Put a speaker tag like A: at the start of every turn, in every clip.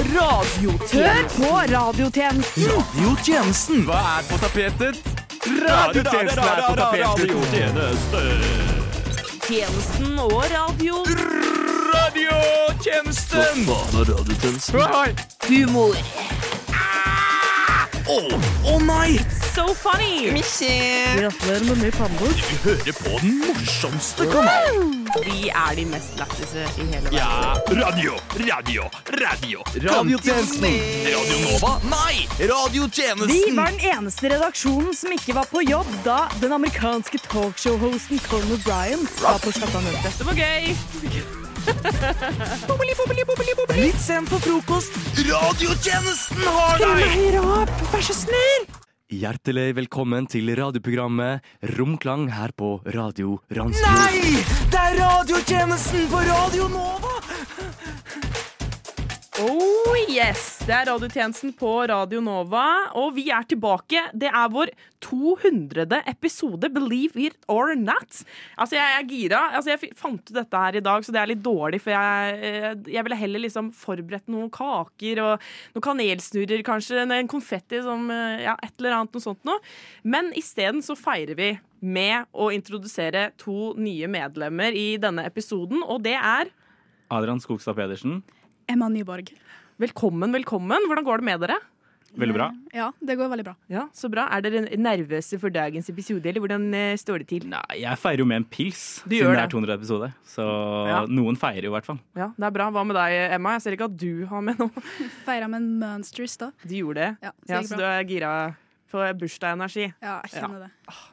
A: Hør på radiotjenesten.
B: Radiotjenesten. Hva er på tapetet? Radiotjenesten er på tapetet.
A: Tjenesten og radio.
B: Radiotjenesten! Hei.
A: Humor.
B: Å å nei!
A: So funny. Gratulerer med ny pannebord.
B: Hører på den morsomste kanalen.
A: Vi er de mest lættise i hele verden.
B: Ja, radio, radio, radio. Radiotjenesten. Radio Nova? Nei!
C: Vi
B: Radiotjenesten.
C: var den eneste redaksjonen som ikke var på jobb da den amerikanske talkshow-hosten Colin O'Brien var på Chattanuppe.
A: Det var gøy.
C: Litt sent på frokost.
B: Radiotjenesten har
C: Kom
B: deg!
C: høyere opp, vær så snill!
D: Hjertelig velkommen til radioprogrammet Romklang her på Radio Randsfjord.
B: Nei! Det er radiotjenesten på Radio Nova!
A: Oh yes! Det er radiotjenesten på Radio Nova, og vi er tilbake. Det er vår 200. episode, believe it or not. Altså, jeg er gira. Altså, jeg f- fant ut dette her i dag, så det er litt dårlig, for jeg, eh, jeg ville heller liksom forberedt noen kaker og noen kanelsnurrer, kanskje, en- en konfetti, som, eh, ja, et eller annet noe sånt noe. Men isteden så feirer vi med å introdusere to nye medlemmer i denne episoden, og det er
E: Adrian Skogstad Pedersen,
F: Emma Nyborg.
A: Velkommen, velkommen. Hvordan går det med dere?
E: veldig bra.
F: Ja, det går veldig bra.
A: Ja, så bra. Er dere nervøse for dagens episode, eller hvordan eh, står det til?
E: Nei, jeg feirer jo med en pils,
A: Du
E: siden
A: gjør
E: det er
A: det.
E: 200 episode. Så
A: Ja.
E: noen feirer jo i hvert fall.
A: Ja, det er bra. Hva med deg, Emma? Jeg ser ikke at du har med noe.
F: Feira med en Monsters da.
A: Du gjorde det.
F: Ja, så
A: Ja,
F: det gikk
A: så du
F: bra.
A: er gira på bursdagsenergi.
F: Ja, jeg kjenner det.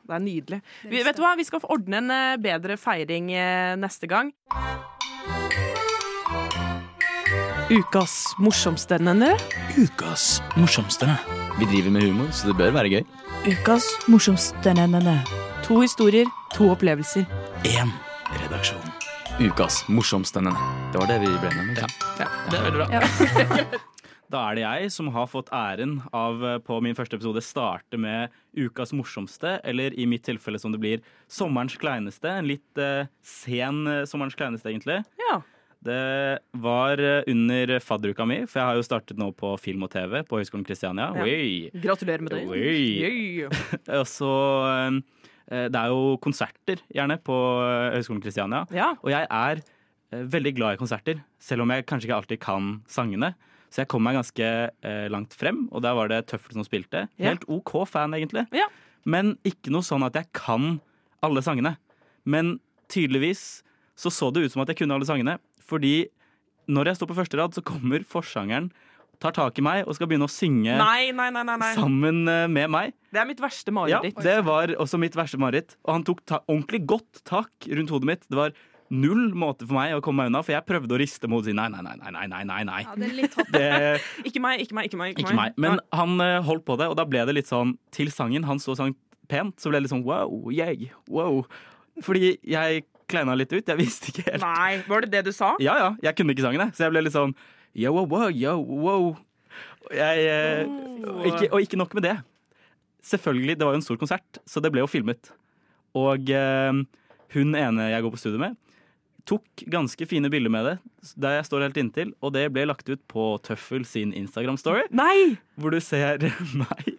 A: Det er nydelig.
F: er
A: Vi,
F: visst
A: vet
F: det.
A: du hva? Vi skal få ordne en eh, bedre feiring eh, neste gang. Ukas morsomste, nenne.
B: Ukas morsomste.
D: Vi driver med humor, så det bør være gøy.
A: Ukas morsomste, nenne. To historier, to opplevelser.
B: Én redaksjon.
D: Ukas morsomste. nenne. Det var det vi ble enige om. ikke sant?
B: Det er veldig bra.
E: Da er det jeg som har fått æren av eh, på min første episode starte med ukas morsomste, eller i mitt tilfelle som det blir sommerens kleineste. En litt eh, sen eh, sommerens kleineste, egentlig.
A: Ja.
E: Det var eh, under fadderuka mi, for jeg har jo startet nå på film og TV på Høgskolen Kristiania.
A: Ja.
E: Oi.
A: Gratulerer med det.
E: Oi.
A: Oi.
E: Og så eh, Det er jo konserter, gjerne, på eh, Høgskolen Kristiania.
A: Ja.
E: Og jeg er eh, veldig glad i konserter, selv om jeg kanskje ikke alltid kan sangene. Så jeg kom meg ganske eh, langt frem, og der var det Tøffel som spilte.
A: Ja.
E: Helt OK fan, egentlig.
A: Ja.
E: Men ikke noe sånn at jeg kan alle sangene. Men tydeligvis så så det ut som at jeg kunne alle sangene, fordi når jeg står på første rad, så kommer forsangeren, tar tak i meg og skal begynne å synge
A: Nei, nei, nei, nei, nei.
E: sammen eh, med meg.
A: Det er mitt verste
E: Ja,
A: mareritt.
E: det var også mitt verste mareritt. Og han tok ta ordentlig godt tak rundt hodet mitt. Det var null måte for meg å komme meg unna, for jeg prøvde å riste med hodet og si nei, nei, nei, nei, nei, nei, nei.
F: Ja, det er litt hot.
E: Det,
A: Ikke meg, ikke meg, ikke meg.
E: ikke meg. Men han eh, holdt på det, og da ble det litt sånn til sangen. Han så sang pent, så ble det litt sånn wow, yay, wow. Fordi jeg kleina litt ut. Jeg visste ikke helt.
A: Nei, var det det du sa?
E: Ja, ja, jeg kunne ikke sangene, så jeg ble litt sånn yo, wow, wow, yo, wow. Og Jeg, eh, og ikke, og ikke nok med det. Selvfølgelig, det var jo en stor konsert, så det ble jo filmet. Og eh, hun ene jeg går på studio med, tok ganske fine bilder med det, der jeg står helt inntil, og det ble lagt ut på Tøffel sin Instagram-story,
A: Nei!
E: hvor du ser meg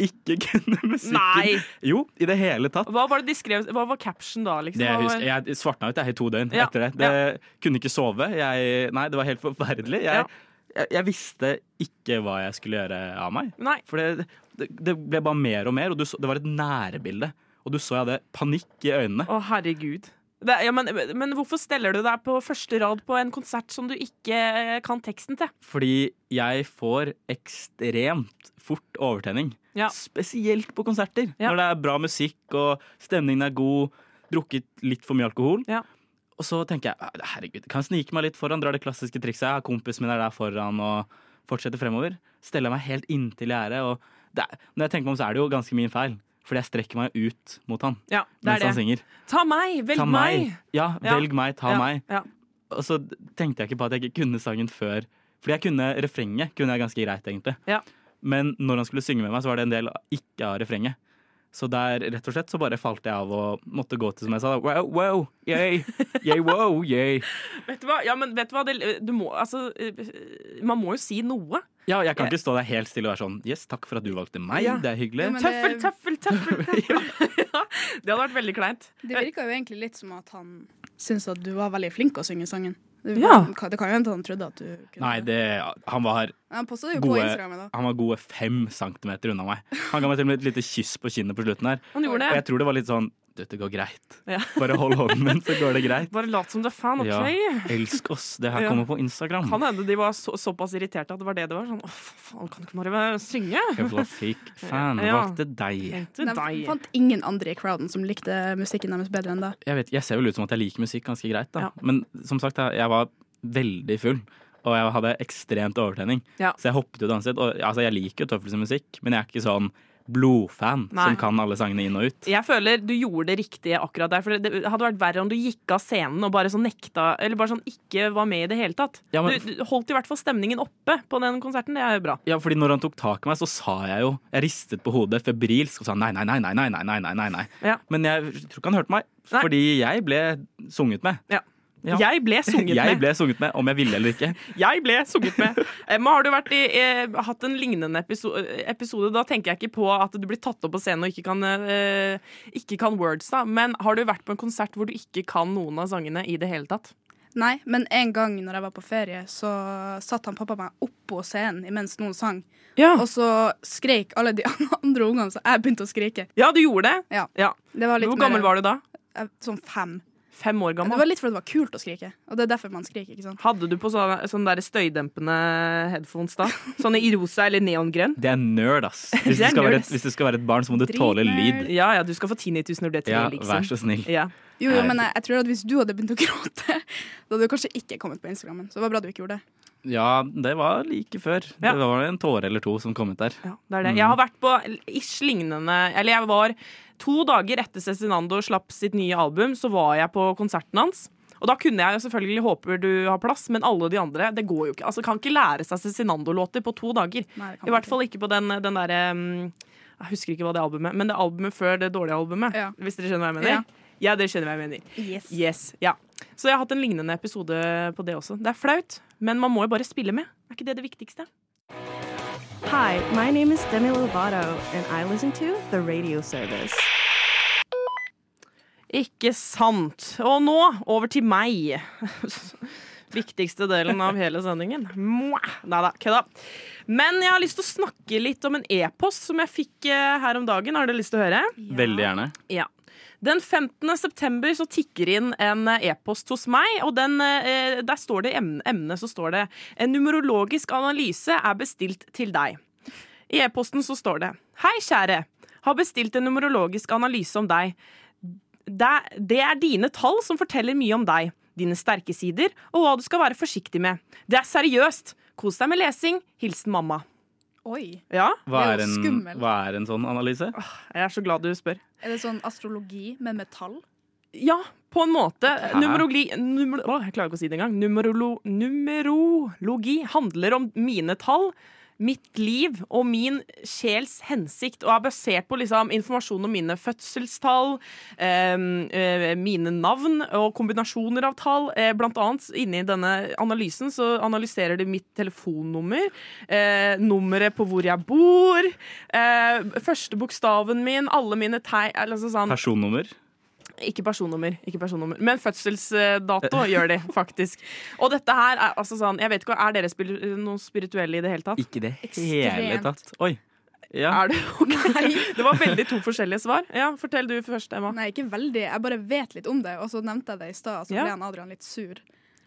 E: ikke kunne musikken.
A: Nei.
E: Jo, i det hele tatt.
A: Hva var det de skrev? Hva var caption da, liksom?
E: Det jeg,
A: Hva var-
E: husker, jeg svartna ut jeg, i to døgn
A: Ja,
E: etter det. det Kunne ikke sove. Jeg, nei, det var helt forferdelig. Jeg,
A: Ja.
E: jeg, jeg visste ikke hva jeg skulle gjøre av meg.
A: Nei.
E: For det, det, det ble bare mer og mer, og du så, det var et nærbilde. Og du så jeg hadde panikk i øynene.
A: Å, herregud. Det, ja, men, men hvorfor steller du deg på første rad på en konsert som du ikke eh, kan teksten til?
E: Fordi jeg får ekstremt fort overtenning.
A: Ja.
E: Spesielt på konserter.
A: Ja.
E: Når det er bra musikk og stemningen er god, drukket litt for mye alkohol.
A: Ja.
E: Og så tenker jeg "Ah, herregud, kan jeg snike meg litt foran, dra det klassiske trikset. Kompisen min er der foran og fortsetter fremover. Steller meg helt inntil gjerdet. og det er- Når jeg tenker meg om, så er det jo ganske min feil. Fordi jeg strekker meg ut mot han
A: Ja, det
E: mens
A: er
E: han
A: det.
E: synger.
A: Ta meg! Velg
E: Ta meg! Ja,
A: Ja.
E: velg meg, ta
A: Ja,
E: meg.
A: Ja.
E: Og så tenkte jeg ikke på at jeg ikke kunne sangen før. Fordi jeg kunne refrenget kunne jeg ganske greit, egentlig.
A: Ja.
E: Men når han skulle synge med meg, så var det en del ikke av refrenget. Så der rett og slett så bare falt jeg av og måtte gå til som jeg sa. da, Wow, wow, yay, yay, wow, yay.
A: Vet du hva? Ja, men vet du hva? Det, du må, altså, eh, man må jo si noe.
E: Ja, jeg kan ikke stå der helt stille og være sånn Yes, takk for at du valgte meg,
A: Ja.
E: det er hyggelig.
F: Jo, men-
A: Tøffel,
F: det-
A: tøffel, tøffel! tøffel. ja, det hadde vært veldig kleint.
F: Det virka jo egentlig litt som at han syntes at du var veldig flink å synge sangen. Det,
A: Ja.
F: det kan jo hende han trodde at du kunne
E: Nei, det, han var
F: Han posta det jo på
E: gode,
F: Instagram. da
E: han var gode fem centimeter unna meg. Han ga meg til og med et lite kyss på kinnet på slutten her.
A: Han gjorde
E: Og
A: det.
E: jeg tror det var litt sånn Dette går greit.
A: Ja.
E: Bare hold hånden min, så går det greit.
A: Bare lat som du er fan, OK?
E: Ja. Elsk oss. Det her
A: Ja.
E: kommer på Instagram.
A: Kan hende de var så, såpass irriterte at det var det det var. Sånn, Å, for faen, kan du ikke bare synge?
E: Jævla fake fan.
A: Ja.
E: Valgte deg.
A: Tenkte
F: De
A: deg.
F: fant ingen andre i crowden som likte musikken deres bedre enn deg.
E: Jeg, vet, jeg ser vel ut som at jeg liker musikk ganske greit, da.
A: Ja.
E: Men som sagt, jeg- jeg var veldig full. Og jeg hadde ekstremt overtenning.
A: Ja.
E: Så jeg hoppet jo danset. Og altså, jeg liker jo Tøffels musikk, men jeg er ikke sånn blodfan
A: Nei.
E: som kan alle sangene inn og ut.
A: Jeg føler du gjorde det riktige akkurat der. For det hadde vært verre om du gikk av scenen og bare sånn nekta Eller bare sånn ikke var med i det hele tatt.
E: Ja, men-
A: du, du holdt i hvert fall stemningen oppe på den konserten. Det er jo bra.
E: Ja, fordi når han tok tak i meg, så sa jeg jo Jeg ristet på hodet febrilsk og sa nei, nei, nei, nei, nei, nei, nei, nei, nei, nei.
A: Ja.
E: Men jeg tror ikke han hørte meg,
A: Nei.
E: fordi jeg ble sunget med. Ja.
A: Jeg ble sunget
E: jeg
A: med.
E: ble sunget med, om jeg ville eller ikke.
A: Jeg ble sunget med. Emma, har du vært i, eh, hatt en lignende episode, episode? Da tenker jeg ikke på at du blir tatt opp på scenen og ikke kan, eh, ikke kan words, da. Men har du vært på en konsert hvor du ikke kan noen av sangene i det hele tatt?
F: Nei, men en gang når jeg var på ferie, så satt han pappa meg oppå scenen imens noen sang.
A: Ja,
F: Og så skreik alle de andre ungene, så jeg begynte å skrike.
A: ja du gjorde det.
F: Ja. Det var litt
A: Hvor gammel var du da?
F: du? Sånn fem.
A: Fem år
F: Det
A: gammel?
F: var litt fordi det var kult å skrike, og det er derfor man skriker. ikke sant?
A: Hadde du på sånne, sånne der støydempende headphones da? Sånne i rosa eller neongrønn?
E: Det er nerd, ass. Hvis
A: Det er
E: du skal, være
A: nerd,
E: et,
A: ass.
E: hvis du skal være et barn, så må du tåle
F: Dritnerd.
E: lyd.
A: Ja, ja, du skal få tinnitus når du er tre,
E: Ja,
A: liksom.
E: vær så snill.
A: Ja.
F: Jo, jo, men jeg, jeg tror at Hvis du hadde begynt å gråte, da hadde du kanskje ikke kommet på Instagrammen. Så det var bra du ikke gjorde det.
E: Ja, det var like før.
A: Ja.
E: Det var en tåre eller to som kom ut der.
A: Ja, det er det.
E: Mm.
A: Jeg har vært på ish lignende Eller jeg var to dager etter Cezinando slapp sitt nye album, så var jeg på konserten hans. Og da kunne jeg jo selvfølgelig håper du har plass, men alle de andre det går jo ikke. Altså, Kan ikke lære seg Cezinando-låter på to dager.
F: Nei, det kan
A: I
F: man
A: hvert fall ikke på den, den derre mm, Jeg husker ikke hva det albumet Men det albumet før det dårlige albumet.
F: Ja.
A: Hvis dere skjønner hva jeg mener? Ja, dere skjønner hva jeg mener.
F: Yes.
A: Yes, ja. Så jeg har hatt en lignende episode på det også. Det er flaut, men man må jo bare spille med. Er ikke det det viktigste?
G: Hi, my name is Demi Lovato, and I listen to the radio service.
A: Ikke sant. Og nå over til meg. Viktigste delen av hele sendingen. Mwah! Nei da, kødda. Men jeg har lyst til å snakke litt om en e-post som jeg fikk eh, her om dagen. Har dere lyst til å høre?
E: Veldig gjerne.
A: Ja. Den 15. september så tikker inn en eh, e-post hos meg, og den, eh, der står det i emne- emnet så står det En numerologisk analyse er bestilt til deg. I e-posten så står det Hei, kjære. Har bestilt en numerologisk analyse om deg. Det, det er dine tall som forteller mye om deg, dine sterke sider og hva du skal være forsiktig med. Det er seriøst. Kos deg med lesing. Hilsen mamma.
F: Oi.
A: Ja,
E: Hva er,
F: Det er jo
E: en,
F: skummelt.
E: hva er en sånn analyse?
A: jeg er så glad du spør.
F: Er det sånn astrologi med metall?
A: Ja, på en måte. Numerologi numer, å, Jeg klarer ikke å si det engang. Numerolo, numerologi handler om mine tall, mitt liv og min sjels hensikt, og er basert på liksom, informasjon om mine fødselstall, eh, eh, mine navn og kombinasjoner av tall. Eh, blant annet inni denne analysen så analyserer de mitt telefonnummer, eh, nummeret på hvor jeg bor, eh, første bokstaven min, alle mine tegn altså sånn,
E: Personnummer?
A: ikke personnummer, ikke personnummer, men fødselsdato gjør de faktisk. Og dette her er altså sånn Jeg vet ikke, er dere spir noen spirituelle i det hele tatt?
E: Ikke det hele
F: Ekstremt.
E: tatt. Oi. Ja.
A: Er du? Ok. Det var veldig to forskjellige svar. Ja, Fortell du først, Emma.
F: Nei, ikke veldig. Jeg bare vet litt om det, og så nevnte jeg det i stad, så
A: Ja.
F: ble han Adrian litt sur.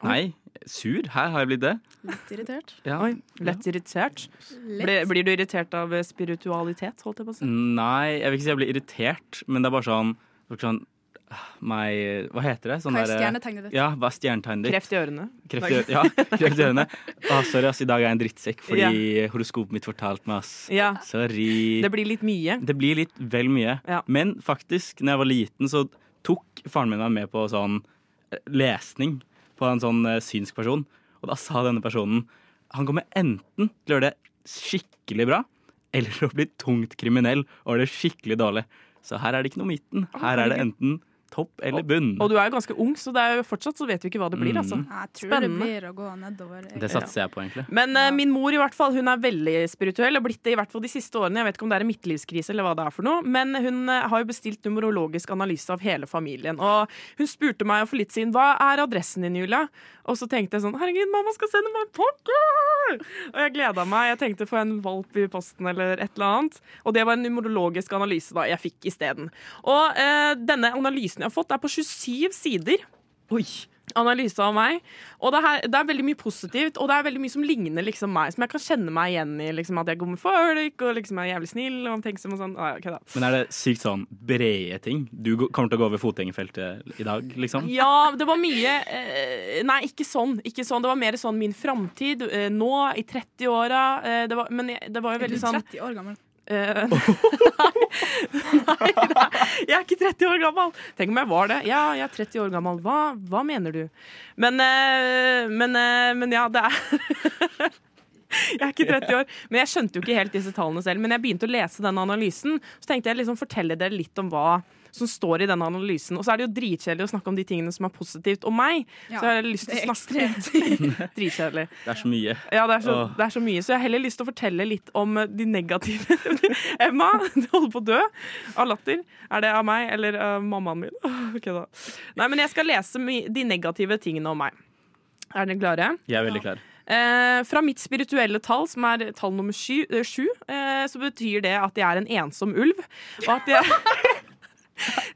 E: Nei, sur? Her har jeg blitt det.
F: Litt irritert.
E: Ja.
A: Lett irritert.
F: Litt.
A: Blir, blir du irritert av eh, spiritualitet, holdt jeg på å si?
E: Nei, jeg vil ikke si jeg ble irritert, men det er bare sånn, det er ikke sånn ah, meg, Hva heter det? Sånn
F: Hva er
E: der-
F: stjernetegnet ditt?
E: Ja, hva er stjernetegnet ditt?
A: Kreft i ørene.
E: Kreft i ø- ja, kreft i ørene. Å, sorry, ass, i dag er jeg en drittsekk fordi horoskopet mitt fortalte meg, ass.
A: Ja.
E: Sorry.
A: Det blir litt mye.
E: Det blir litt vel mye.
A: Ja.
E: Men faktisk, når jeg var liten, så tok faren min meg med på sånn eh, lesning på en sånn eh, synsk person. Og da sa denne personen han kommer enten til å gjøre det skikkelig bra, eller å bli tungt kriminell og gjøre det skikkelig dårlig. Så her er det ikke noe midten. Her er det enten topp eller bunn.
A: Og du er jo ganske ung, så det er jo fortsatt så vet vi ikke hva det blir. altså.
F: Jeg tror
A: Spennende.
F: det blir å gå nedover. egentlig.
E: Det satser jeg på, egentlig.
A: Men eh, min mor i hvert fall, hun er veldig spirituell, og blitt det i hvert fall de siste årene. Jeg vet ikke om det er en midtlivskrise eller hva det er for noe, men hun eh, har jo bestilt numerologisk analyse av hele familien. Og hun spurte meg for litt siden hva er adressen din, Julia? Og så tenkte jeg sånn herregud, mamma skal sende meg en pakke! Og jeg gleda meg. Jeg tenkte få en valp i posten eller et eller annet. Og det var en numerologisk analyse da jeg fikk isteden. Og eh, denne analysen jeg har fått, er på 27 sider analyse av meg. Og det, her, det er veldig mye positivt, og det er veldig mye som ligner liksom meg. Som jeg kan kjenne meg igjen i. Liksom, at jeg går med folk, og liksom er jævlig snill og omtenksom og sånn. Nei, ok da.
E: Men er det sykt sånn brede ting? Du går- kommer til å gå over fotgjengerfeltet i dag, liksom?
A: Ja, det var mye eh, Nei, ikke sånn. ikke sånn. Det var mer sånn min framtid eh, nå, i 30-åra. Eh, det var- men jeg, det var jo
F: Er du
A: veldig sånn
F: 30 år gammel?
A: eh, nei, nei, nei, jeg er ikke 30 år gammel! Tenk om jeg var det. Ja, jeg er 30 år gammel. Hva, hva mener du? Men, eh, men, eh, men ja, det er Jeg er ikke 30 år, men jeg skjønte jo ikke helt disse tallene selv. Men jeg begynte å lese den analysen, så tenkte jeg liksom fortelle dere litt om hva som står i den analysen. Og så er det jo dritkjedelig å snakke om de tingene som er positivt om meg. så jeg har lyst til
F: det
A: å
F: er
A: snakke Dritkjedelig.
E: Det er så mye.
A: Ja, det er, så,
E: Åh.
A: det er så mye, så jeg har heller lyst til å fortelle litt om eh, de negative. Emma, du holder på å dø av latter. Er det av meg eller av mammaen min? Ok da. Nei, men jeg skal lese my de negative tingene om meg. Er dere klare?
E: Jeg er veldig klar.
A: Eh, fra mitt spirituelle tall, som er tall nummer sju, eh, sju eh, så betyr det at jeg er en ensom ulv. Og at jeg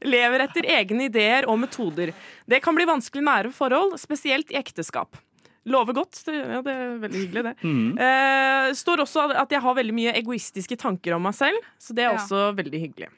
A: lever etter egne ideer og metoder. Det kan bli vanskelig i nære forhold, spesielt i ekteskap. Lover godt. Det, ja, det er veldig hyggelig, det. Eh, står også at jeg har veldig mye egoistiske tanker om meg selv, så det er
F: Ja.
A: også veldig hyggelig.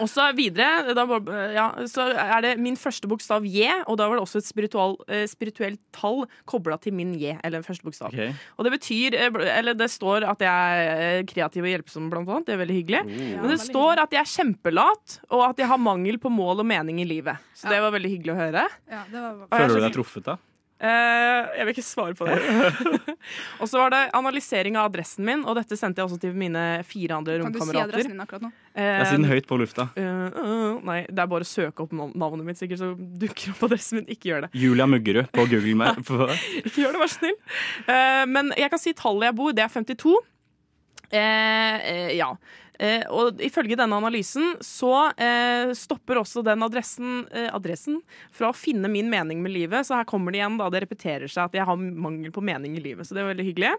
A: Og så videre, da, var- ja, så er det min første bokstav J, og da var det også et spiritual, eh, spirituelt tall kobla til min J, eller første bokstav.
E: Ok.
A: Og det betyr, eh, bl- eller det står at jeg er eh, kreativ og hjelpsom, blant annet. Det er veldig hyggelig.
F: Mm.
A: Men det står at jeg er kjempelat, og at jeg har mangel på mål og mening i livet. Så det var veldig hyggelig å høre.
F: Ja, det var
A: Og jeg er
E: Føler du deg
A: så-
E: truffet, da?
A: Eh, jeg vil ikke svare på det. og så var det analysering av adressen min, og dette sendte jeg også til mine fire andre
F: Kan du si adressen
A: romkamerater.
F: din akkurat nå?
E: Jeg sier
F: Um,
E: den høyt på lufta.
A: Eh, eh, nei, det er bare å søke opp nav- navnet mitt, sikkert, så dukker opp adressen min. Ikke gjør det.
E: Julia Muggerud på Google Map. På
A: Ikke gjør det, vær så snill. Eh, men jeg kan si tallet jeg bor, det er 52. Eh, eh, ja. Eh, og ifølge denne analysen så eh, stopper også den adressen, eh, adressen fra å finne min mening med livet. Så her kommer det igjen, da. Det repeterer seg at jeg har mangel på mening i livet. Så det er veldig hyggelig.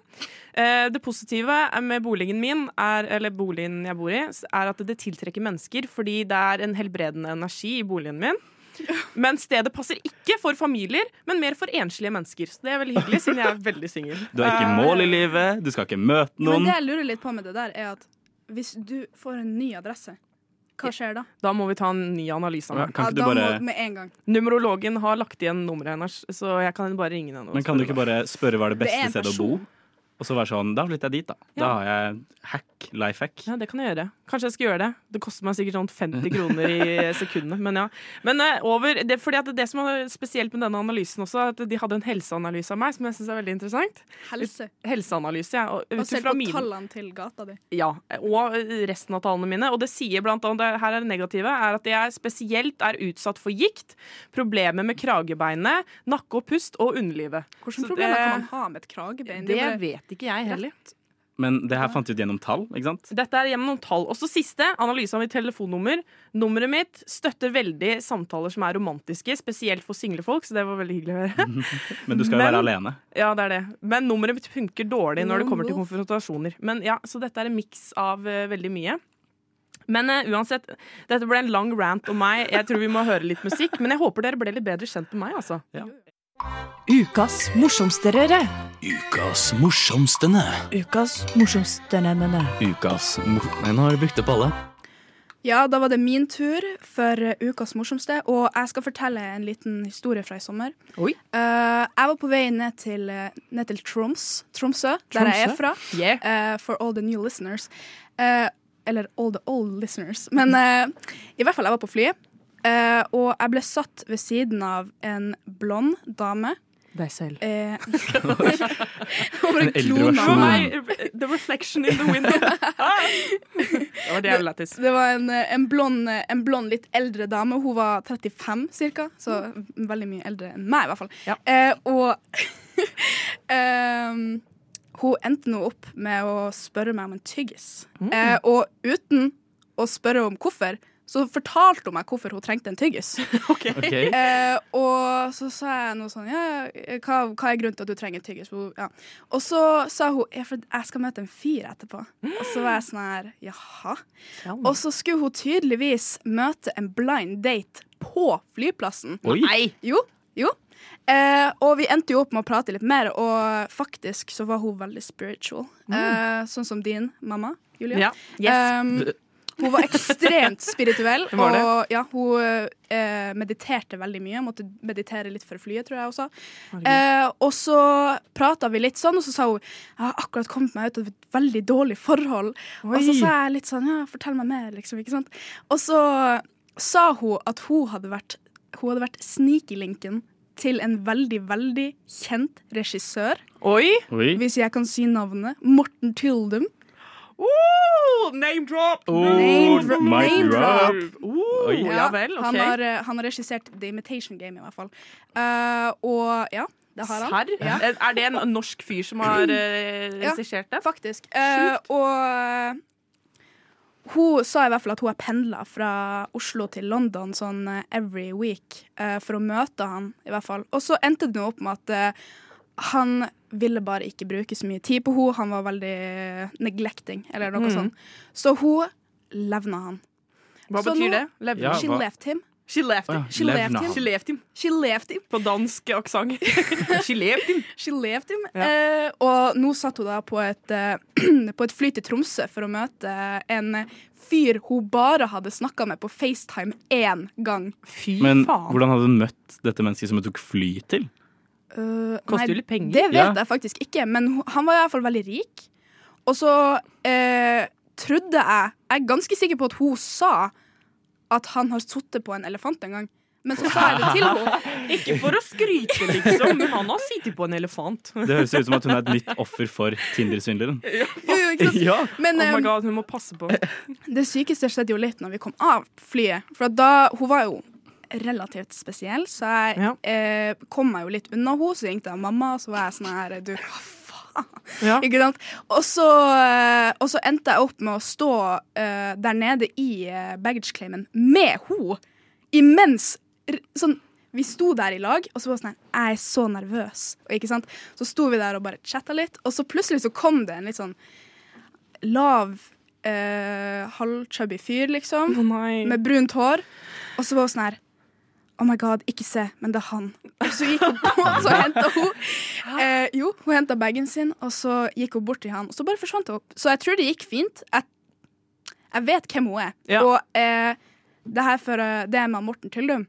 A: Eh, det positive med boligen min, er, eller boligen jeg bor i, er at det tiltrekker mennesker fordi det er en helbredende energi i boligen min. Men stedet passer ikke for familier, men mer for enslige mennesker. Så det er veldig hyggelig, siden jeg er veldig singel.
E: Du har ikke mål i livet, du skal ikke møte
F: Um, Men
E: noen.
F: det jeg lurer litt på med det der, er at hvis du får en ny adresse, hva skjer da?
A: Eh, Da må vi ta en ny analyse. av
E: Ja,
A: meg.
E: Kan
F: ja,
E: ikke
F: da
E: du bare
F: må med en gang.
A: Numerologen har lagt igjen nummeret hennes, så jeg kan bare ringe henne. og
E: Men kan du
A: spørre
E: ikke bare spørre hva er det
F: Det er
E: beste
F: en
E: stedet å bo? Og så være sånn Da flytter jeg dit, da. Da har jeg hack, life hack.
A: Ja, det kan jeg gjøre. Kanskje jeg skal gjøre det. Det koster meg sikkert sånn 50 kroner i sekundet, men ja. Men eh, over, det, fordi at det som er spesielt med denne analysen også, er at de hadde en helseanalyse av meg, som jeg syns er veldig interessant.
F: Helse.
A: Helseanalyse, ja. og ut
F: Basert
A: ifra
F: på
A: mine-
F: tallene til gata di.
A: Ja, og eh, resten av tallene mine. Og det sier blant annet, her er det negative, er at jeg spesielt er utsatt for gikt, problemer med kragebeinet, nakke og pust og underlivet.
F: Hvilke
A: Så
F: problemer
A: det-
F: kan man ha med et kragebein? Det er jo bare-
A: vet ikke jeg heller.
E: Men det her fant du ut gjennom tall, ikke sant?
A: Dette er gjennom noen tall. Også siste, analyse av mitt telefonnummer. Nummeret mitt støtter veldig samtaler som er romantiske, spesielt for single folk, så det var veldig hyggelig å høre.
E: Men du skal jo
A: Men-
E: være alene.
A: Ja, det er det. Men nummeret mitt funker dårlig når det kommer til
F: Lone Wolf.
A: konfrontasjoner. Men ja, Så dette er en miks av eh, veldig mye. Men eh, uansett, dette ble en lang rant om meg. Jeg tror vi må høre litt musikk, men jeg håper dere ble litt bedre kjent med meg, altså.
H: Ukas morsomste røre.
B: Ukas morsomstene.
H: Ukas morsomste nemmene.
D: Ukas mor... Nei, nå har du brukt opp alle.
F: Ja, da var det min tur for eh, ukas morsomste, og jeg skal fortelle en liten historie fra i sommer.
A: Oi.
F: Eh, jeg var på vei ned til, eh, ned til Troms, Tromsø, der jeg er fra,
A: Yeah.
F: eh, for all the new listeners. Eh, eller all the old listeners. Men eh, i hvert fall, jeg var på flyet, eh, og jeg ble satt ved siden av en blond dame.
A: Deg selv.
F: eh, Over en
E: eldre
F: klone
E: versjon.
F: av meg.
A: Nei, The reflection in the window. Ah! Det var det jeg ville lættis.
F: Det var en, eh, en, blond, eh, en blond, litt eldre dame. Hun var 35 ca., så veldig mye eldre enn meg, i hvert fall.
A: Ja.
F: Eh, og ehm, hun endte nå opp med å spørre meg om en tyggis. Eh, og uten å spørre om hvorfor, så fortalte hun meg hvorfor hun trengte en tyggis.
E: Ok.
F: Eh, og så sa jeg noe sånn ja, hva, hva er grunnen til at du trenger tyggis? Hun- Ja. Og så sa hun ja, for jeg skal møte en fyr etterpå. Og så var jeg sånn her jaha.
A: Mm.
F: Og så skulle hun tydeligvis møte en blind date på flyplassen.
E: Oi.
F: Jo, jo. Eh, og vi endte jo opp med å prate litt mer, og faktisk så var hun veldig spiritual. Eh, sånn som din mamma, Julia.
A: Mm. Ja. Yes.
F: Um, hun var ekstremt spirituell.
A: Hun var det.
F: Og ja, hun eh, mediterte veldig mye. Måtte meditere litt for flyet, tror jeg også. Eh, og så prata vi litt sånn, og så sa hun jeg har akkurat kommet meg ut av et veldig dårlig forhold. Og så sa jeg litt sånn ja, fortell meg mer, liksom. ikke sant? Og så sa hun at hun hadde vært, hun hadde vært sneaky-linken til en veldig, veldig kjent regissør.
A: Oi!
E: Oi.
F: Hvis jeg kan si navnet. Morten Tyldum.
A: Oh, name drop!
E: Oh,
F: Name-
E: mic
F: name
E: drop.
A: Oh,
E: Oi.
A: ja, vel, OK.
F: han, har, eh, han har regissert The Imitation Game, i hvert fall. Eh, og ja, det har han.
A: Serr? Er er det en norsk fyr som har eh,
F: Ja.
A: regissert det?
F: Faktisk. Eh, og eh, hun sa i hvert fall at hun har pendla fra Oslo til London sånn eh, every week eh, for å møte han, i hvert fall. Og så endte det nå opp med at eh, han ville bare ikke bruke så mye tid på henne. Han var veldig eh, neglecting, eller
A: Mm.
F: noe sånt. Så hun levna han.
A: Hva
F: Så
A: betyr
F: nå-
A: det? Levde.
E: Ja,
F: She
E: hva-
F: left him.
A: She left him.
E: Å,
F: She
E: levna
F: left him.
E: han.
A: She left him.
F: She left him.
A: På dansk aksent. She left him.
F: She left him. Eh, og nå satt hun da på et, eh, på et fly til Tromsø for å møte en fyr hun bare hadde snakka med på FaceTime én gang.
A: Fy
E: Men
A: faen.
E: hvordan hadde hun møtt dette mennesket som hun tok fly til?
F: Eh,
A: Koster
F: nei,
A: jo litt penger.
F: Det vet
E: Ja.
F: jeg faktisk ikke, men hun- han var i hvert fall veldig rik. Og så eh, trodde jeg Jeg er ganske sikker på at hun sa at han har sittet på en elefant en gang. Men så sa jeg det til henne.
A: Ikke for å skryte, liksom, men han har sittet på en elefant.
E: Det høres ut som at hun er et nytt offer for Tinder-svindleren.
F: Jo, jo, ikke sant?
E: Ja.
F: Men,
A: Oh my
F: eh,
A: god, hun må passe på.
F: Det sykeste skjedde jo litt når vi kom av flyet. For at da, hun var jo relativt spesiell, så jeg
A: Ja.
F: eh, kom meg jo litt unna henne. Så ringte jeg mamma, og så var jeg sånn her Du, hva faen?
A: Ja.
F: Ikke sant? Og så, eh, og så endte jeg opp med å stå eh, der nede i eh, baggage claimen med henne. Imens r- sånn, vi sto der i lag, og så var det sånn her, Jeg er så nervøs. Og, ikke sant? Så sto vi der og bare chatta litt, og så plutselig så kom det en litt sånn lav, eh, halvchubby fyr, liksom
A: Å nei.
F: med brunt hår. Og så var hun sånn her Oh my god, ikke se, men det er han. Og så gikk hun på, og så henta hun eh, Jo, hun henta bagen sin, og så gikk hun bort til han, og så bare forsvant hun. Så jeg tror det gikk fint. Jeg, jeg vet hvem hun er.
A: Ja.
F: Og eh, det her for eh, det med Morten Tyldum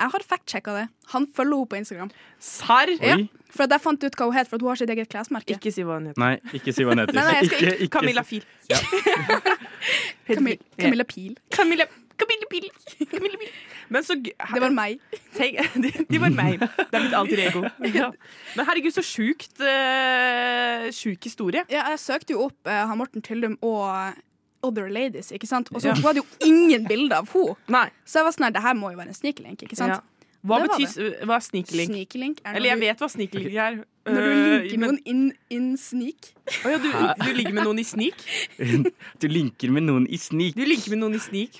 F: Jeg har fact-sjekka det. Han følger henne på Instagram.
A: Serr?
F: Ja, for at jeg fant ut hva hun het, for at hun har sitt eget klesmerke.
A: Ikke si hva hun heter.
E: Nei, ikke si hva hun heter.
F: Nei, nei, jeg skal
E: ikke,
A: Camilla Fil.
F: Camilla, Camilla Pil.
A: Camilla, Camilla Pil. Camilla Pil. Men så g-
F: Det var meg.
A: Tenk, de, de var meg. Det er mitt alter ego. Ja. Men herregud, så sjukt eh, sjuk historie.
F: Ja, jeg søkte jo opp eh, han Morten Tyldum og eh, Other Ladies, ikke sant? Og så hun hadde jo ingen bilder av henne.
A: Nei.
F: Så jeg var sånn her, det her må jo være en sneaklink, ikke sant?
A: Ja. Hva
F: Det var
A: betyr s- hva er sneaklink?
F: Sneaklink er når,
A: Eller jeg
F: du,
A: vet hva sneaklink er.
F: når du
A: Eh,
F: linker
A: men-
F: noen inn, inn sneak.
A: Å ja, du, du ligger med noen i snik?
E: Du linker med noen i snik.
A: Du ligger med noen i snik.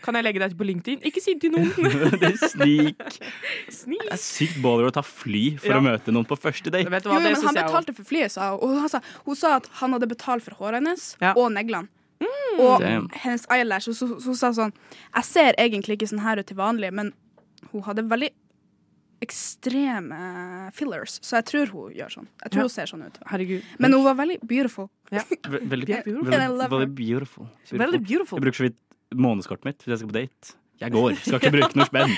A: Kan jeg legge deg til på LinkedIn? Ikke si det til noen.
E: Det er snik.
A: Snik.
E: Det er sykt baller å ta fly for
A: Ja.
E: å møte noen på første date.
A: Vet du
F: Jo,
A: hva,
F: jo,
A: det
F: men
A: syns
F: han
A: jeg også.
F: betalte for flyet, sa hun. Og han sa, hun sa at han hadde betalt for håret hennes
A: Ja.
F: og neglene. Og
E: Damn.
F: hennes eyelash. Og så, så, så sa hun sånn Jeg ser egentlig ikke sånn her ut til vanlig, men hun hadde veldig ekstreme fillers, så jeg tror hun gjør sånn. Jeg tror
A: Ja.
F: hun ser sånn ut.
A: Herregud.
F: Men hun var veldig beautiful.
E: Ve- Veldig,
A: Yeah, beautiful.
E: veldig-
F: And I love her.
E: veldig beautiful.
A: Veldig
E: beautiful. Jeg
A: beautiful.
E: bruker så vidt månedskortet mitt hvis jeg skal på date. Jeg går. Skal ikke bruke noe spenn.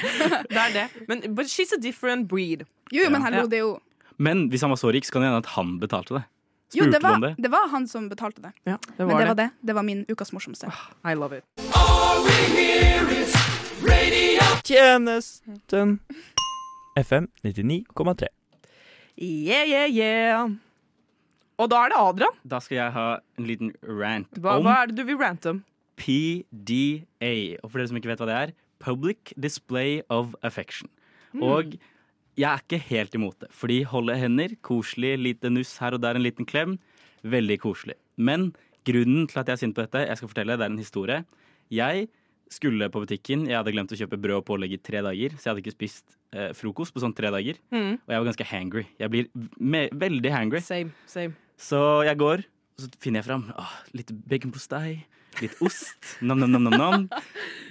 A: Det er det. Men but she's a different breed.
F: Jo, jo, men
E: Ja.
F: hallo,
A: Ja.
F: det er jo
E: Men hvis han var så rik, så kan det hende at han betalte det.
F: Jo,
E: Spurte
F: det
E: du om
F: var,
E: det?
F: det var han som betalte det.
A: Ja, det Ah,
F: Men det var det. Det var min ukas morsomste.
A: I love it.
I: Tjenesten. FM 99,3.
A: Yeah, yeah, yeah. Og da er det Adrian.
E: Da skal jeg ha en liten rant
A: Hva,
E: om
A: hva er det du vil rante om?
E: PDA. Og for dere som ikke vet hva det er, Public Display of Affection. Og jeg er ikke helt imot det, fordi holde hender, koselig, lite nuss her og der, en liten klem, veldig koselig. Men grunnen til at jeg er sint på dette, jeg skal fortelle, det er en historie. Jeg skulle på butikken, jeg hadde glemt å kjøpe brød og pålegg i tre dager, så jeg hadde ikke spist eh, frokost på sånn tre dager.
A: Mm.
E: Og jeg var ganske hangry. Jeg blir me veldig hangry.
A: Same, same.
E: Så jeg går, og så finner jeg fram Åh, litt baconpostei, litt ost. Nam-nam-nam-nam.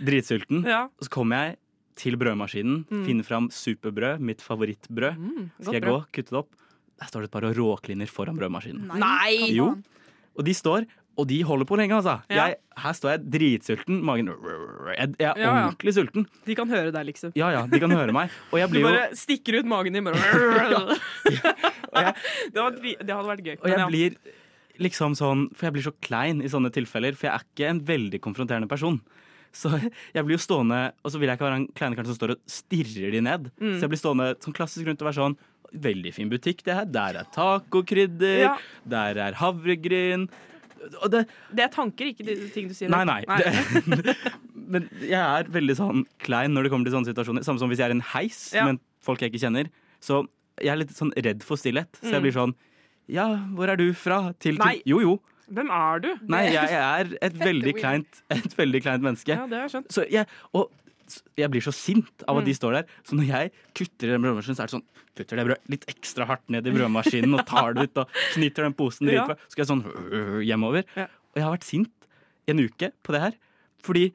E: Dritsulten.
A: Ja. Mm.
E: Og så kommer jeg til brødmaskinen, finner fram superbrød, mitt favorittbrød. Skal jeg gå, kutte det opp? Der står det et par råkliner foran brødmaskinen.
A: Nei!
F: hva faen?
E: Jo. Og de står, og de holder på lenge, altså.
A: Ja.
E: Jeg, her står jeg dritsulten. Magen Jeg, jeg er
A: ja.
E: ordentlig sulten.
A: De kan høre deg, liksom.
E: Ja ja, de kan høre meg. Og jeg
A: Du
E: blir jo
A: bare stikker ut magen din. Bare. det, var, dri- det hadde vært gøy.
E: Og jeg
A: men ja.
E: blir liksom sånn For jeg blir så klein i sånne tilfeller, for jeg er ikke en veldig konfronterende person. Så jeg blir jo stående, og så vil jeg ikke være han kleine karen som står og stirrer de ned.
A: Mm.
E: Så jeg blir stående sånn klassisk rundt og være sånn Veldig fin butikk, det her. Der er tacokrydder.
A: Ja.
E: Der er havregryn. Og det
A: Det er tanker, ikke de ting du sier.
E: Nei, nei. Det, men jeg er veldig sånn klein når det kommer til sånne situasjoner. Samme som hvis jeg er i en heis
A: Ja.
E: med folk jeg ikke kjenner. Så jeg er litt sånn redd for stillhet. Så jeg blir sånn Ja, hvor er du fra? Til, til.
A: Mm. Nei.
E: Jo, jo.
A: Hvem er du?
E: Nei, jeg er et veldig
F: weird.
E: kleint, et veldig kleint menneske.
A: Ja, det har jeg skjønt. Mm.
E: Så jeg, og s- jeg blir så sint av at de står der. Så når jeg kutter i den brødmaskinen, så er det sånn Kutter det brød litt ekstra hardt ned i brødmaskinen og tar det ut og knytter den posen
A: Ja.
E: dritbra. Så skal jeg sånn øh, hjemover.
A: Ja.
E: Og jeg har vært sint i en uke på det her. Fordi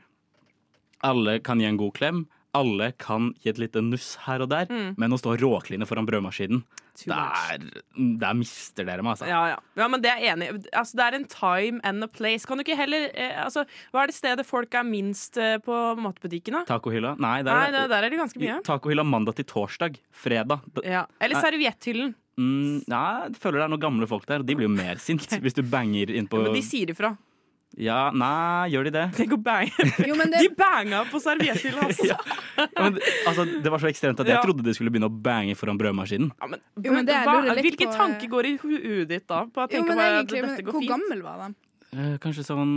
E: alle kan gi en god klem. Alle kan gi et lite nuss her og der. Men å stå og råkline foran brødmaskinen,
A: Mm. Too much.
E: der, der mister dere meg, altså.
A: Ja, ja. ja, men det er jeg enig. i. Altså, det er en time and a place. Kan du ikke heller eh, altså, Hva er det stedet folk er minst eh, på matbutikken, da?
E: Tacohylla? Nei, der,
A: Nei, det- der er det ganske mye.
E: Tacohylla mandag til torsdag. Fredag. Da-
A: Ja. Eller servietthyllen.
E: Mm, nei, jeg føler det er noen gamle folk der, og de blir jo mer sint hvis du banger innpå
A: Men de sier ifra.
E: Ja, nei, gjør de det?
A: Tenk å bange.
F: Jo, men det,
A: De banga på servietthyllen, altså!
E: Ja. Ja, men, altså, det var så ekstremt at jeg
A: Ja.
E: trodde de skulle begynne å bange foran brødmaskinen.
A: Ja, men,
F: Jo, men det jeg
A: hva,
F: lurer litt
A: hvilke
F: på, eh,
A: tanker går i hu- huet ditt da? På å
F: jo,
A: tenke
F: men
A: bare at
F: egentlig, men
A: dette går
F: hvor
A: fint?
F: gammel var de?
E: Eh, kanskje sånn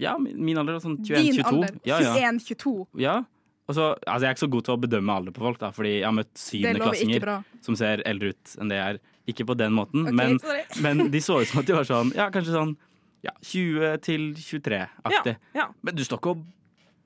E: Ja, min min alder, da, sånn
F: Din alder.
E: 21-22. Ja, ja.
F: 21-22.
E: ja. Og så, altså, jeg er ikke så god til å bedømme alder på folk, da, fordi jeg har møtt
F: Det lover ikke
E: syvendeklassinger
F: bra.
E: som ser eldre ut enn det jeg er. Ikke på den måten,
F: Ok,
E: men
F: sorry.
E: Men de så ut som at de var sånn Ja, kanskje sånn ja, 20 til 23-aktig.
A: Ja, ja.
E: Men du står ikke og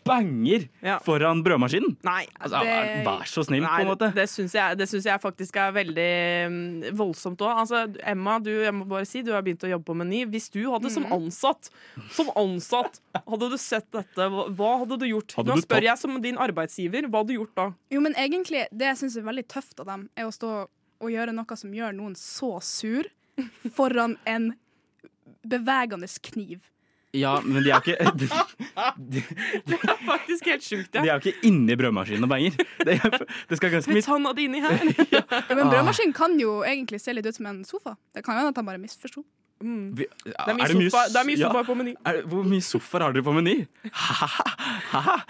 E: banger
A: Ja.
E: foran brødmaskinen!
A: Nei,
E: Altså,
F: Det-
E: Vær så snill,
A: Nei,
E: på en måte.
A: Det syns jeg, det syns jeg faktisk er veldig mm, voldsomt òg. Altså, Emma, du, jeg må bare si, du har begynt å jobbe på Meny. Hvis du hadde
F: Mhm.
A: som ansatt Som ansatt, hadde du sett dette, hva, hva hadde du gjort?
E: Hadde
A: Nå
E: du tatt-
A: spør jeg som din arbeidsgiver, hva hadde du gjort da?
F: Jo, men egentlig, det jeg syns er veldig tøft av dem, er å stå og gjøre noe som gjør noen så sur, foran en bevegende kniv.
E: Ja, men de er jo ikke de,
A: Faktisk helt sjukt,
E: de
A: ja.
E: er jo ikke inni brødmaskinen og banger. Det, det skal ganske
A: Putt
E: mye
A: handa di inni her.
F: Ja,
A: Ah.
F: men brødmaskinen kan jo egentlig se litt ut som en sofa. Det kan jo hende at han bare misforsto.
A: Mm.
E: Vi-
A: Det er mye sofa, det er mye sofa på Meny.
E: Ja, er, hvor mye sofaer har dere på Meny?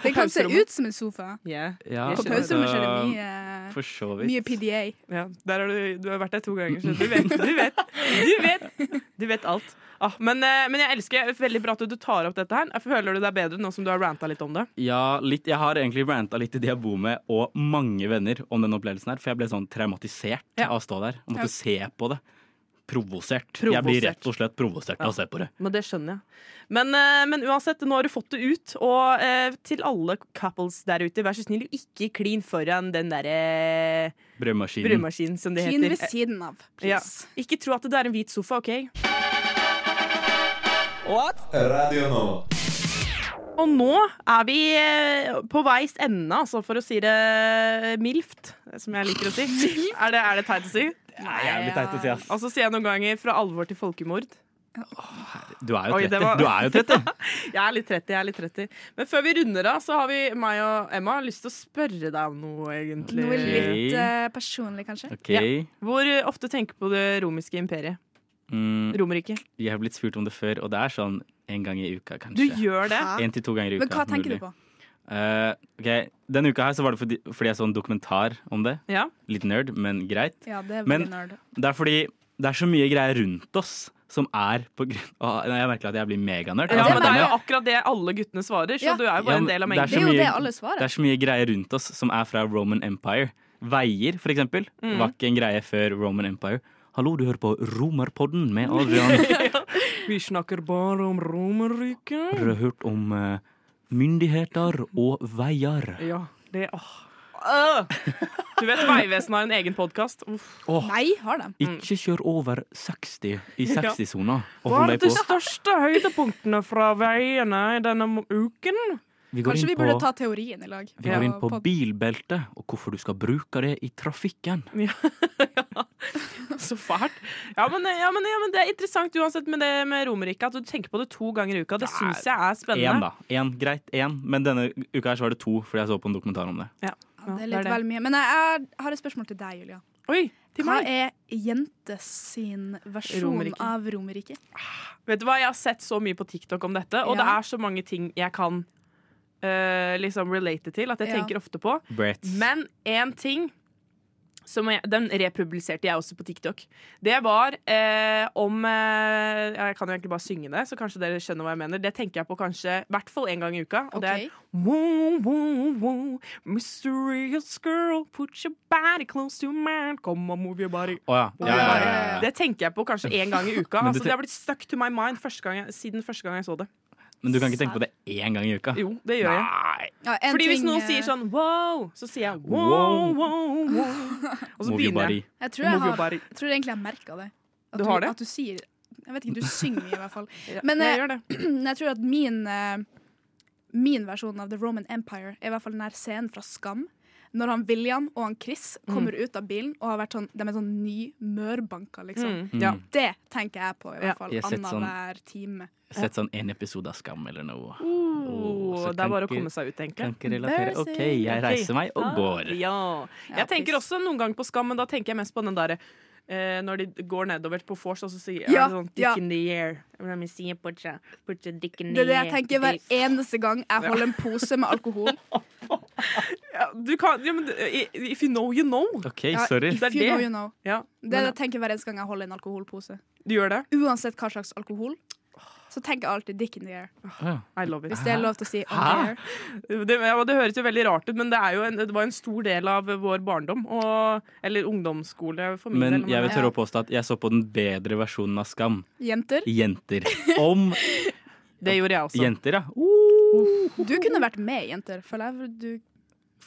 F: Det kan se
A: Pauserommet.
F: ut som en sofa.
A: Yeah.
E: Ja,
A: Jeg
F: På
A: skjønner.
F: pauserommet skjer det
E: så-
F: mye,
E: For så
F: mye
E: vidt.
F: PDA.
A: Ja, der har du, du har vært der to ganger, så du vet. Du vet, du vet, du vet alt. Ah, men, eh, men jeg elsker veldig bra at du tar opp dette her. Føler du deg bedre nå som du har ranta litt om det?
E: Ja, litt, jeg har egentlig ranta litt til de jeg bor med, og mange venner, om den opplevelsen her. For jeg ble sånn traumatisert
A: Ja.
E: av å stå der. Jeg måtte
F: Ja.
E: se på det. Provosert. Jeg blir
A: Provosert.
E: rett og slett provosert av å se på det.
A: Men det skjønner jeg. Men, eh, men uansett, nå har du fått det ut. Og eh, til alle couples der ute, vær så snill, ikke klin foran den derre eh,
E: Brødmaskinen.
A: brødmaskinen, som det
F: Kinn ved
A: heter.
F: siden av,
A: Eh, Ja.
F: please.
A: Ikke tro at det er en hvit sofa, OK?
B: Radio Nova.
A: Og nå er vi eh, på veis ende, altså, for å si det milft, som jeg liker å si. Er det, er det teit å si?
E: Nei, jævlig teit å si, ass.
A: Og så sier jeg noen ganger 'fra alvor til folkemord'.
E: Du er jo
A: Oi, det
E: 30.
A: var-
E: Du er jo 30.
A: Jeg er litt 30, jeg er litt 30. Men før vi runder av, så har vi, meg og Emma, lyst til å spørre deg om noe, egentlig.
F: Noe litt
E: Ok.
F: eh, personlig, kanskje.
E: OK.
A: Hvor eh, ofte tenker på det romiske imperiet?
E: Mm,
A: Romerriket.
E: jeg har blitt spurt om det før, og det er sånn en gang i uka,
A: Du
E: kanskje.
A: gjør det?
F: Hæ?
E: En til to ganger i uka.
F: Men hva tenker du på?
E: Eh, ok, Denne uka her så var det fordi, fordi jeg så en dokumentar om det.
A: Ja.
E: Litt nerd, men greit.
F: Ja, det er
E: Men-
F: veldig nerd.
E: Det er fordi det er så mye greier rundt oss som er på grunn Åh, nei, Jeg merker at jeg blir meganerd.
A: Ja,
E: Jeg
A: men det er
E: snakker
A: jo
E: om
A: akkurat det alle guttene svarer, så
F: Ja.
A: du er jo
E: Ja,
A: bare en
E: men
A: del av
E: det er
A: mengden.
F: Det er jo
E: mye-
F: det alle svarer.
E: Det er så mye greier rundt oss som er fra Roman Empire. Veier, for eksempel,
A: Mm.
E: var ikke en greie før Roman Empire. Hallo, du hører på Romerpodden med Adrian.
A: Vi snakker bare om Romerriket.
E: Har du hørt om eh, myndigheter og veier?
A: Ja, det åh. Øh! Du vet Vegvesenet har en egen podkast.
F: Nei, har de.
E: Ikke kjør over 60 i 60-sona. og
A: Mm. Hva
E: hold
A: er
E: deg
A: de
E: på.
A: største høydepunktene fra veiene denne uken?
E: Vi går
F: Kanskje
E: inn
F: vi burde
E: på-
F: ta teorien i lag.
E: Vi
A: Ja,
E: går inn på
F: pod-
E: bilbelte og hvorfor du skal bruke det i trafikken.
A: Så fælt. Ja men, ja, men, ja, men det er interessant uansett med det med Romerike, at du tenker på det to ganger i uka. Det syns jeg er
E: Én,
A: spennende.
E: da. En, greit, én. Men denne uka her så var det to, fordi jeg så på en dokumentar om det.
F: Ja, det er litt vel mye. Men jeg, er- har et spørsmål til deg, Julia.
A: Oi, til
F: Hva
A: meg.
F: er jentes sin versjon
A: Romerike.
F: av Romerike?
A: Vet du hva, jeg har sett så mye på TikTok om dette, og
F: Ja.
A: det er så mange ting jeg kan eh, liksom relate til, at jeg
F: Ja.
A: tenker ofte på.
E: Brett.
A: Men én ting som jeg, Den republiserte jeg også på TikTok. Det var eh, om eh, ja, Jeg kan jo egentlig bare synge det, så kanskje dere skjønner hva jeg mener. Det tenker jeg på kanskje i hvert fall én gang i uka. Og det
F: Ok.
A: er Woo, woo, woo, mysterious girl, put your body close to mine. Come on, move your body.
E: Å ja. Ja, ja, ja, ja.
A: Det tenker jeg på kanskje én gang i uka.
E: Men du ten-
A: Altså, det har blitt stuck to my mind første gang jeg, siden første gang jeg så det.
E: Men du kan ikke tenke på det én gang i uka?
A: Jo, det gjør jeg.
E: Nei.
F: Ja, en
A: Fordi hvis
F: ting,
A: noen
F: eh,
A: sier sånn wow, så sier jeg
E: Wow.
A: wow, wow, wow. Og så
E: Move your
A: begynner
E: body.
A: jeg.
F: Jeg tror, jeg
A: Move your
F: har,
A: body.
F: jeg tror egentlig jeg merka det. At
A: Du har det?
F: At du sier Jeg vet ikke, du synger i hvert fall.
A: Ja,
F: Men,
A: jeg gjør
F: eh,
A: det.
F: Men jeg tror at min eh, Min versjon av The Roman Empire er i hvert fall den her scenen fra Skam. Når han William og han Chris kommer ut av bilen og har vært sånn, de er sånn nymørbanka, liksom.
A: Mm, ja.
F: Det tenker jeg på, i
A: Ja.
F: hvert fall.
E: Jeg har sett
F: Annenhver time.
E: Sett sånn en episode av Skam eller noe.
A: Oh,
E: så
A: det er bare å
E: tenker-
A: komme seg ut, tenker
E: Kan
A: jeg.
E: ikke relatere. OK, jeg
A: Ok. Ah,
E: reiser meg og går.
A: Ja. Jeg tenker
F: please.
A: også noen ganger på Skam, men da tenker jeg mest på den derre eh, når de går nedover på vors, og så sier
F: Ja,
A: er det sånn dick
F: ja.
A: in the air. Let me see, put your- put your dick in
F: Det er det
A: the
F: jeg
A: air.
F: tenker hver eneste gang jeg holder en pose med alkohol.
A: Ja, du kan, ja, men, eh, if you know, you know.
E: OK,
F: Ja,
E: sorry.
F: If
A: Det er
F: you
A: det.
F: know, you know.
A: Ja,
F: Det er det
A: men,
F: jeg tenker hver eneste gang jeg holder en alkoholpose.
A: du gjør det?
F: Uansett hva slags alkohol, så tenker jeg alltid 'dick in the air'.
E: Å,
A: I love it.
F: Hvis det er lov til å si on the
E: Hæ?
F: air.
A: Det, ja, det høres jo veldig rart ut, men det, er jo en, det var en stor del av vår barndom. Og, eller ungdomsskole, for min
E: Men
A: del.
E: jeg vil
A: men-
E: tørre å påstå at jeg så på den bedre versjonen av Skam.
F: Jenter,
E: Jenter. Om
A: det gjorde jeg også.
E: jenter, ja. Uh,
F: du kunne vært med, jenter. Føler jeg du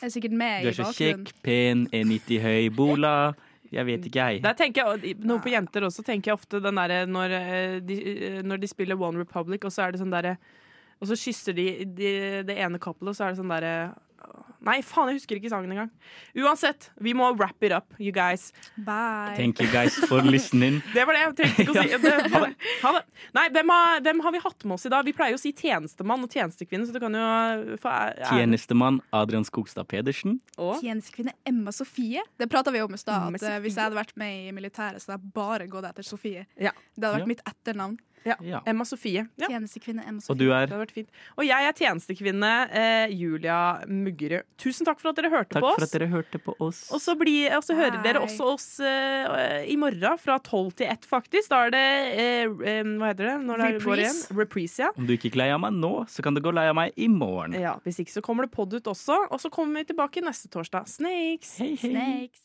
F: er sikkert med
E: du
F: i
E: er så
F: bakgrunnen.
E: kjekk, pen, 1,90 høy, bola. Jeg vet ikke, jeg.
A: Der tenker jeg, noe på jenter også tenker jeg ofte den derre når, eh, de, eh, når de spiller One Republic, og så er det sånn derre Og så kysser de, de det ene kappelet, og så er det sånn derre Nei, faen, jeg husker ikke sangen engang. Uansett, vi må wrap it up, you guys.
F: Bye.
E: Thank you guys for listening.
A: Det var det jeg trengte ikke å si. Det, ha det. Ha det. Nei, hvem har, hvem har vi hatt med oss i dag? Vi pleier jo å si tjenestemann og tjenestekvinne, så du kan jo få æ- æren.
E: Tjenestemann Adrian Skogstad Pedersen.
A: Og-
F: Tjenestekvinne Emma Sofie. Det prata vi om i stad.
A: Emma
F: at, eh,
A: Sofie.
F: Hvis jeg hadde vært med i militæret, så hadde jeg bare gått etter Sofie.
A: Ja.
F: Det hadde
E: Ja.
F: vært mitt etternavn.
E: Ja.
A: Emma Sofie. Ja,
F: Tjenestekvinne Emma
E: Og
F: Sofie.
E: du
A: det
E: er
A: har vært fint. Og jeg er tjenestekvinne eh, Julia Muggerud. Tusen takk for at dere hørte
E: Takk
A: på
E: for
A: oss.
E: at dere hørte på oss.
A: Og så, blir, og så hører dere
F: Hei.
A: også oss eh, i morgen fra tolv til ett, faktisk. Da er det eh, eh, Hva heter det? Når det går igjen?
F: Reprise.
A: Reprise, ja.
E: Om du ikke gikk lei av meg nå, så kan du gå lei av meg i morgen.
A: ja. Hvis ikke så kommer det pod ut også. Og så kommer vi tilbake neste torsdag. Snakes!
E: Hei, hei.
F: Snakes.